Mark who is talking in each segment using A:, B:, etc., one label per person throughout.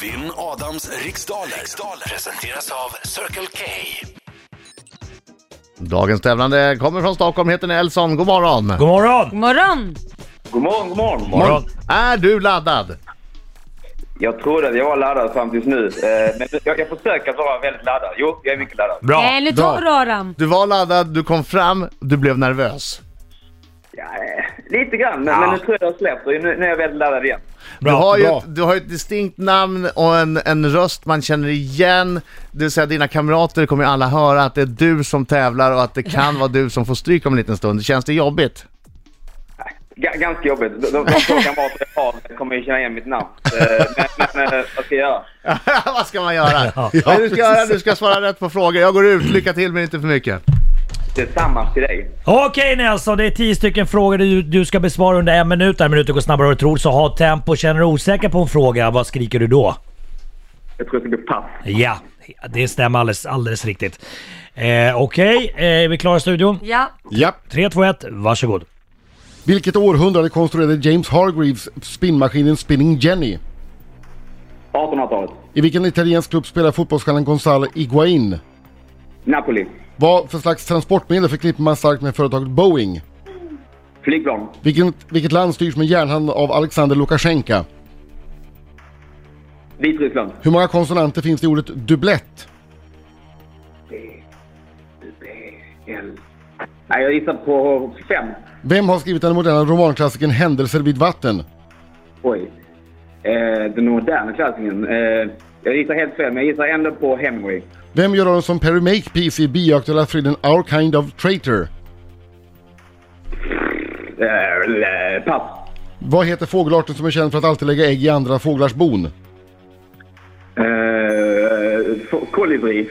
A: Vinn Adams riksdaler. riksdaler presenteras av Circle K.
B: Dagens tävlande kommer från Stockholm, heter Nelson. God morgon!
C: God morgon!
D: God morgon!
E: God morgon, god morgon.
C: morgon.
B: Är du laddad?
E: Jag trodde att jag var laddad fram tills nu. eh, Men jag, jag försöker att vara väldigt laddad. Jo, jag är mycket laddad.
C: Bra!
D: Nej, nu tar du Adam.
B: Du var laddad, du kom fram, du blev nervös.
E: Ja, eh, lite grann, men, men nu tror jag jag släpper. Nu, nu är jag väldigt laddad igen.
C: Bra,
B: du, har ju
C: bra.
B: ett, du har ju ett distinkt namn och en, en röst man känner igen. Det vill säga dina kamrater kommer ju alla höra att det är du som tävlar och att det kan vara du som får stryk om en liten stund. Känns det jobbigt?
E: Ga- ganska jobbigt. De, de, de två kamrater jag har kommer ju känna igen mitt namn. Eh, Men, men eh, vad ska jag göra?
B: Vad ska man göra? Vad du ska göra? Du ska svara rätt på frågor. Jag går ut, lycka till men inte för mycket.
E: Tillsammans till dig.
C: Okej Nelson, det är tio stycken frågor du, du ska besvara under en minut. En minut går snabbare än du tror, så ha tempo. Känner du osäker på en fråga, vad skriker du då?
E: Jag tror jag ska gå pass.
C: Ja, det stämmer alldeles, alldeles riktigt. Eh, Okej, eh, är vi klara i studion?
D: Ja.
F: Ja.
C: 3, 2, 1, varsågod.
F: Vilket århundrade konstruerade James Hargreaves spinnmaskinen Spinning Jenny?
E: 1800-talet.
F: I vilken italiensk klubb spelar fotbollsstjärnan Gonzalo Higuain?
E: Napoli.
F: Vad för slags transportmedel förknippar man starkt med företaget Boeing?
E: Flygplan.
F: Vilken, vilket land styrs med järnhand av Alexander Lukasjenko?
E: Vitryssland.
F: Hur många konsonanter finns det i ordet dubblett?
E: El. Nej, jag gissar på fem.
F: Vem har skrivit den moderna romanklassikern Händelser vid vatten?
E: Oj. Eh, den moderna klassingen. Eh, jag gissar helt fel, men jag gissar ändå på Hemingway.
F: Vem gör rollen som Perry Makepeace i bioaktuella thrillern Our Kind of Traitor?
E: Eh, eh, pass.
F: Vad heter fågelarten som är känd för att alltid lägga ägg i andra fåglars bon?
E: Eh, f- kolibri.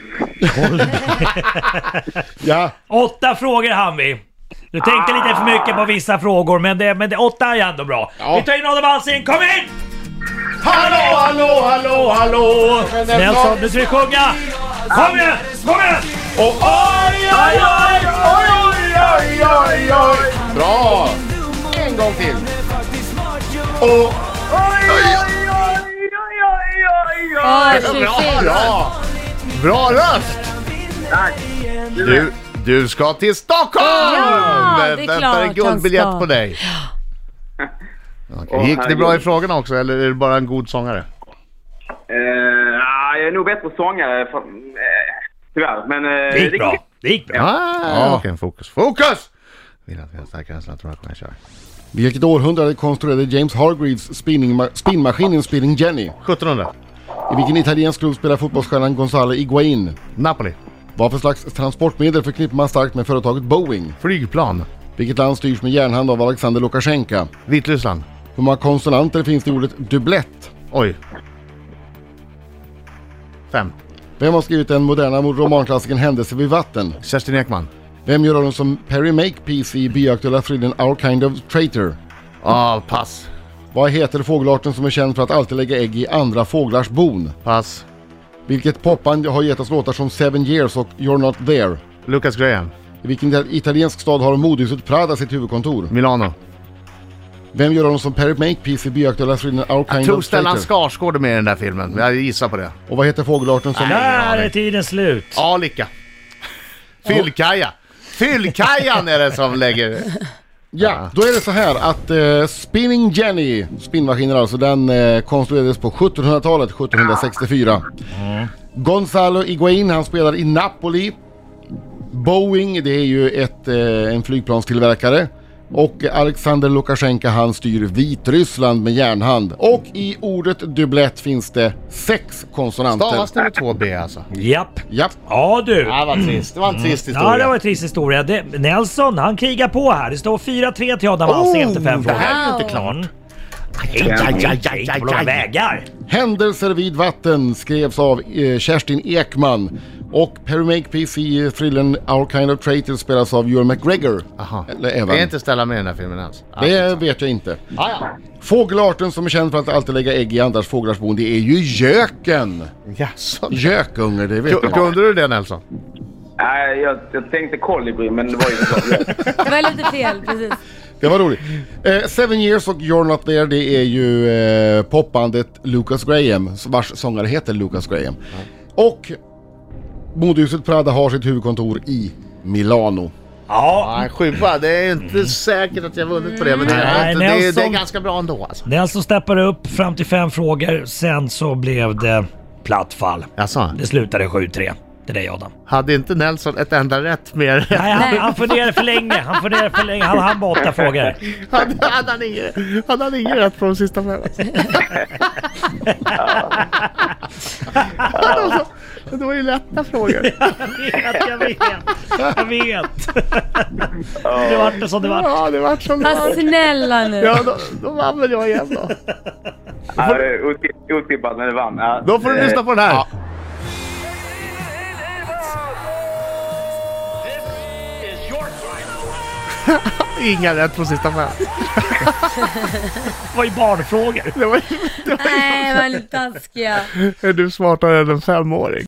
F: Ja,
C: Åtta frågor hann vi. Du tänkte lite för mycket på vissa frågor, men, det, men det, åtta är ändå bra. Vi tar in Adam Alsing, kom in! Hallå, hallå, hallå, hallå! Nelson, nu ska vi sjunga! Kom igen, kom igen! oj, oj, oj, oj, oj, oj, oj, oj!
F: bra! En gång till!
D: Åh, tjusigt.
B: Bra! Bra röst! Du, du ska till Stockholm!
D: Ja, det är
B: Väntar en
D: klart han
B: guldbiljett
D: ska.
B: på dig. Okej,
E: Åh,
B: Gick det bra i
E: herregud.
B: frågorna också eller är du bara en god sångare?
E: Eh, ah, jag är nog bättre sångare. För, eh, tyvärr, men... Eh,
C: Det gick bra, det gick bra.
B: Ah,
F: Ja.
B: Okej, fokus. Fokus! Vill att vi har starka känslan, tror jag kommer köra.
F: Vilket århundrade konstruerade James Hargreaves spinningma- spinnmaskinen Spinning Jenny?
B: 1700.
F: I vilken italiensk klubb spelar fotbollsstjärnan Gonzalo Higuain?
B: Napoli.
F: Vad för slags transportmedel förknippar man starkt med företaget Boeing?
B: Flygplan.
F: Vilket land styrs med järnhand av Alexander Lukasjenko?
B: Vitryssland.
F: Hur många konsonanter finns det i ordet dubblett?
B: Oj. Fem.
F: Vem har skrivit den moderna romanklassikern Händelser vid vatten?
B: Kerstin Ekman.
F: Vem gör rollen som Perry Makepeace i bioaktuella thrillern Our Kind of Traitor?
B: Ah, pass.
F: Vad heter fågelarten som är känd för att alltid lägga ägg i andra fåglars bon?
B: Pass.
F: Vilket popband har gett oss låtar som Seven Years och You're Not There?
B: Lucas Graham.
F: I vilken italiensk stad har modehuset Prada sitt huvudkontor?
B: Milano.
F: Vem gör honom som Perry Makepeace i bioaktuella thrillern Our
B: Jag
F: Kind
B: tror
F: of
B: Stellan
F: Traitor?
B: Skarsgård är med i den där filmen. Jag gissar på det.
F: Och vad heter fågelarten som...
C: Där är tiden slut.
B: Alika. Fyllkaja. Fyllkajan är det som lägger...
F: Ja, då är det så här att eh, Spinning Jenny, spinnmaskinen alltså, den eh, konstruerades på 1700-talet, 1764.
C: Mm.
F: Gonzalo Higuain, han spelar i Napoli. Boeing, det är ju ett, eh, en flygplanstillverkare. Och Alexander Lukasjenko, han styr Vitryssland med järnhand. Och i ordet dubblett finns det sex konsonanter.
B: Stavas det med två B alltså?
C: Japp.
F: Japp.
C: Ja du.
B: Ja, vad trist. Det var en trist
C: Mm. Ja, det
B: historia.
C: var en trist historia. Det, Nelson, han krigar på här. Det står 4-3 till Adam Alsing efter fem
B: det
C: frågor. Mm.
B: här är ju inte klart.
C: klart. Aj, aj, aj, aj, aj, aj. vägar.
F: Händelser vid vatten skrevs av eh, Kerstin Ekman och Perry Makepeace i eh, thrillern Our Kind of Traitor spelas av Ewan McGregor.
B: Aha.
F: Eller
B: Det är
F: Evan.
B: inte Stellan med i den här filmen ens. Ja,
F: Det vet jag inte.
B: ja, ja.
F: Fågelarten som är känd för att alltid lägga ägg i andras fåglars bon, det är ju göken!
B: Jaså?
F: Gökungar, det vet
B: Ku-
F: jag.
B: Kunde du det Nelson?
E: Nej, jag, jag tänkte kolibri, men det var ju inte så.
D: Det var lite fel, precis.
F: Det var roligt. Eh, Seven Years och You're Not There, det är ju eh, popbandet Lucas Graham, vars sångare heter Lucas Graham. Och modehuset Prada har sitt huvudkontor i Milano.
C: Ja,
B: Ja, en sjua. Det är ju inte säkert att jag vunnit på det, men det är,
C: Nej,
B: inte, det är, det är
C: Nelson.
B: ganska bra ändå alltså.
C: den som steppar upp fram till fem frågor, sen så blev det platt fall.
B: Jaså,
C: Det slutade 7-3. Det är dig Adam.
B: hade inte Nelson ett enda rätt mer?
C: Nej, han, han funderade för länge. Han funderade för länge. Han hann bara åtta frågor.
B: Hade, hade, han inget, hade han inget rätt på de sista fem? Alltså. Alltså, det var ju lätta frågor.
C: Jag vet, jag vet. Jag vet. Det vart det som det vart.
B: Ja, det vart som det
D: Fast
B: var.
D: snälla nu.
B: Ja, då, då vann väl jag igen då.
E: Ja, det är otipp- Otippat, men det vann. Ja,
B: Då får du
E: eh,
B: lyssna på den här. Inga rätt på sista fem.
C: Det var ju barnfrågor.
B: Det var,
D: Nej, vad ni taskiga.
B: är du smartare än en femåring?